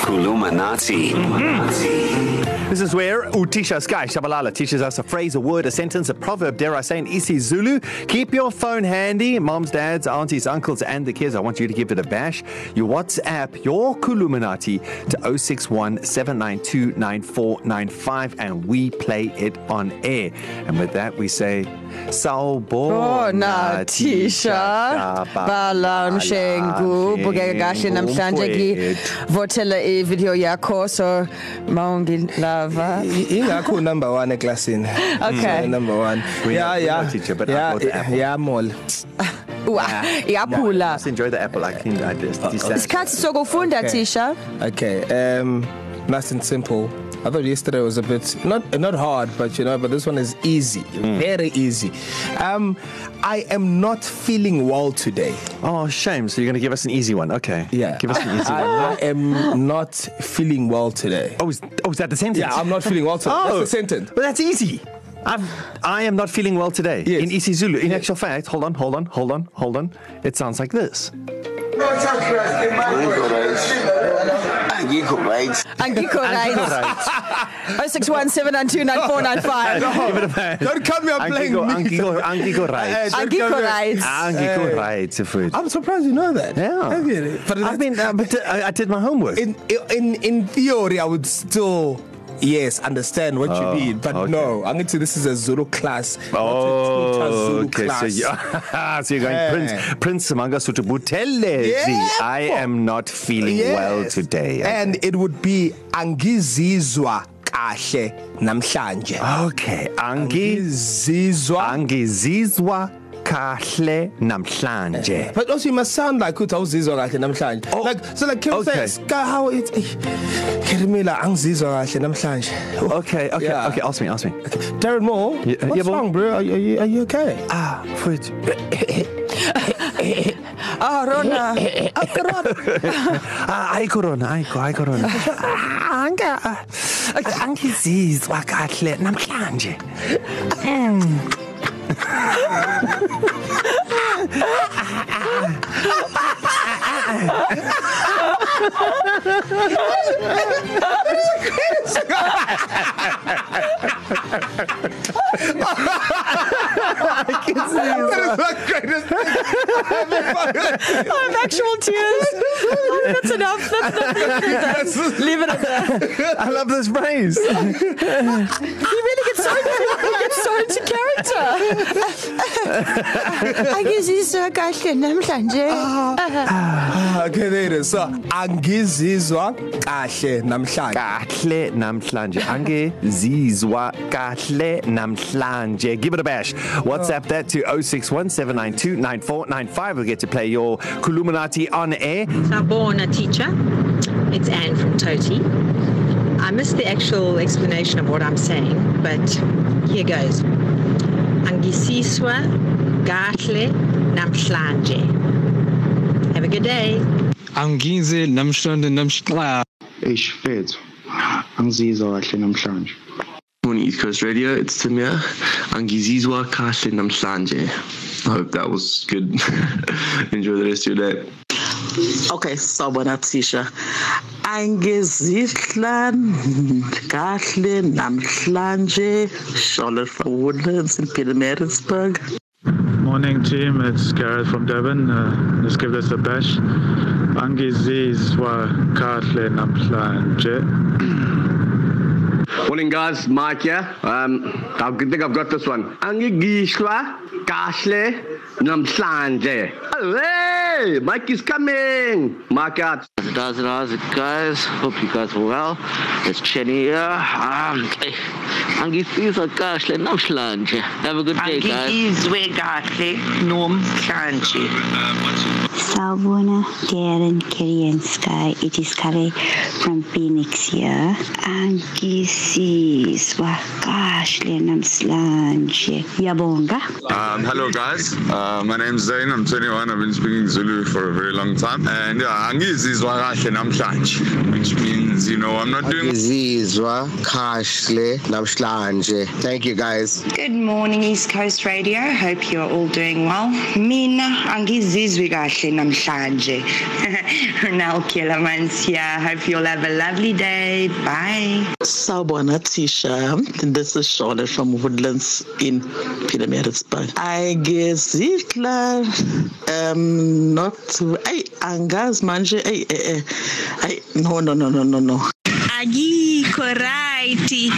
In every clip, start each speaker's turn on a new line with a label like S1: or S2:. S1: Kulumanati.
S2: This is where Utisha Sky Shabalala teaches us a phrase, a word, a sentence, a proverb, dare I say, in isiZulu. Keep your phone handy. Moms, dads, aunties, uncles, and the kids. I want you to give it a bash. You WhatsApp your Kuluminati to 061 792 9495 and we play it on air. And with that, we say,
S3: Bona
S2: Sawbona
S3: Tisha Balam Shengu Bukeka kahle namhlanje ngivothela ivideo yakho so mawungi lava
S4: ingakho number 1 eclassini
S3: Okay.
S4: So, number
S2: We
S4: 1 yeah
S2: are- we are
S4: yeah
S2: teacher, but I
S4: yeah
S2: got the apple.
S4: yeah mol
S3: wa iyaphula
S2: Just enjoy the apple. I cleaned I just
S3: isikhathi sokufunda
S4: Okay.
S3: Tisha
S4: okay um nice and simple I thought yesterday was a bit not not hard but you know but this one is easy
S2: Hmm.
S4: mm. very easy um I am not feeling well today
S2: Oh, shame. So you're going to give us an easy one. Okay.
S4: yeah
S2: Give us an easy one.
S4: I, I am not feeling well today
S2: Oh, is, oh, is that the sentence?
S4: yeah I'm not feeling well today
S2: Oh,
S4: that's the sentence
S2: Well, that's easy. I've, I am not feeling well today.
S4: Yes.
S2: In isiZulu, in actual fact, hold on, hold on, hold on, hold on. It sounds like this.
S1: Angikho right.
S3: angikho right
S2: Right.
S3: 0617929495
S2: Give it a bash.
S4: Don't come here playing
S2: Angigo,
S4: me.
S2: angigo, angigo right.
S4: Hey, don't
S3: Angikho
S4: come here.
S3: right.
S2: Angigo right. Food.
S4: I'm surprised you know that
S2: Yeah.
S4: I get it. but
S2: I've been, uh, but uh, I, I did my homework.
S4: in in in theory, I would still yes understand what oh,
S2: Oh,
S4: you mean, but
S2: okay.
S4: okay. no, I'm going to this is a Zulu class. not a Tuta
S2: Oh,
S4: Zulu
S2: okay. So,
S4: class.
S2: yeah. so you're going yeah.
S4: Yeah.
S2: Prince Prince Mangasutu Buthelezi.
S4: Yeah.
S2: I am not feeling yes. well today.
S4: and it would be angizizwa kahle namhlanje.
S2: Ah. okay, Angi
S4: Angizizwa.
S2: angizizwa kahle namhlanje.
S4: But also you must sound like utawuzizwa kahle namhlanje.
S2: Oh,
S4: Oh, like so like can
S2: okay.
S4: okay. say "Ska, how it Kerimela angizizwa kahle namhlanje.
S2: Okay, okay, yeah.
S4: Yeah.
S2: okay. Ask me, ask me.
S4: Darren Moore,
S2: Ye-
S4: what's
S2: yebo.
S4: wrong bro? Are, you- are you are you okay?
S2: Ah, food.
S3: ah Rona
S2: Ah, ay corona, ay, co- ay corona. Ah, Anga angizizwa kahle namhlanje.
S3: Oh, I'm actual tears oh, that's enough that's enough leave it at that
S2: I love this phrase.
S3: He really gets so he gets so into character. Angizizwa kahle namhlanje.
S4: Ah, Okay, there it is. So, angizizwa kahle namhlanje.
S2: kahle namhlanje angezizwa kahle namhlanje give it a bash whatsapp that to 0617929495 we'll get to play your kuluminati on air
S5: Sabona teacher. It's Anne from Toti. I missed the actual explanation of what I'm saying, but here goes. Angisiswa gahle namhlanje. Have a good day.
S6: angize namhlanje namhla
S7: Eish, fethu. Angizizwa kahle namhlanje.
S8: Morning East Coast Radio, it's Tim here. Angizizwa kahle namhlanje. I hope that was good. Enjoy the rest of your day.
S9: Okay, sawubona thisha. Angezihla kahle namhlanje Charlotte from Woodlands in Peter Maritzburg.
S10: Morning team, it's Gareth from Devon. Uh, let's give this a bash. Angizizwa kahle namhlanje.
S8: Morning guys, Mike here. Um, I think I've got this one. Angizizwa kahle namhlanje. Hey, Mike is coming. Mike out.
S9: Guys and guys, guys, hope you guys are well. It's Chenny here. Um, Angizizwa kahle namhlanje. Have a good day, guys. Angizwe kahle namhlanje.
S11: Sawubona, Darren, Kerry and Sky. It is Kare from Phoenix here. Angisizwa kahle namhlanje. Yabonga.
S10: Um, hello guys, uh, my name's Zain. I'm 21. I've been speaking Zulu for a very long time, and yeah, angizizwa kahle namhlanje, which means you know I'm not doing
S7: Angizizwa kahle
S12: namhlanje. Thank you guys.
S5: Good morning, East Coast Radio. Hope you're all doing well. Mina angizizwi kahle namhlanje. Ronel Killermans here. Hope you'll have a lovely day. Bye.
S11: Sawubona Tisha, this is Shona from Woodlands in Pietermaritzburg. I guess Zitla um not ay angazi manje ay eh, eh, ay no no no no no no.
S13: Agiko righty.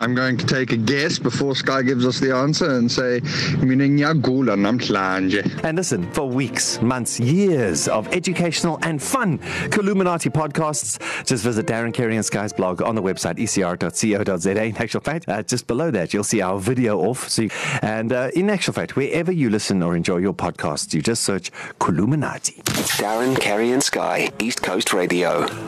S10: I'm going to take a guess before Sky gives us the answer and say, Mininyagula namhlanje.
S2: And listen, for weeks, months, years of educational and fun Kaluminati podcasts, just visit Darren Carey and Sky's blog on the website E ecr.co.za. In actual fact, uh, just below that, you'll see our video off. So you, and uh, in actual fact, wherever you listen or enjoy your podcasts, you just search Kaluminati.
S9: Darren, Kerry, and Sky, East Coast Radio.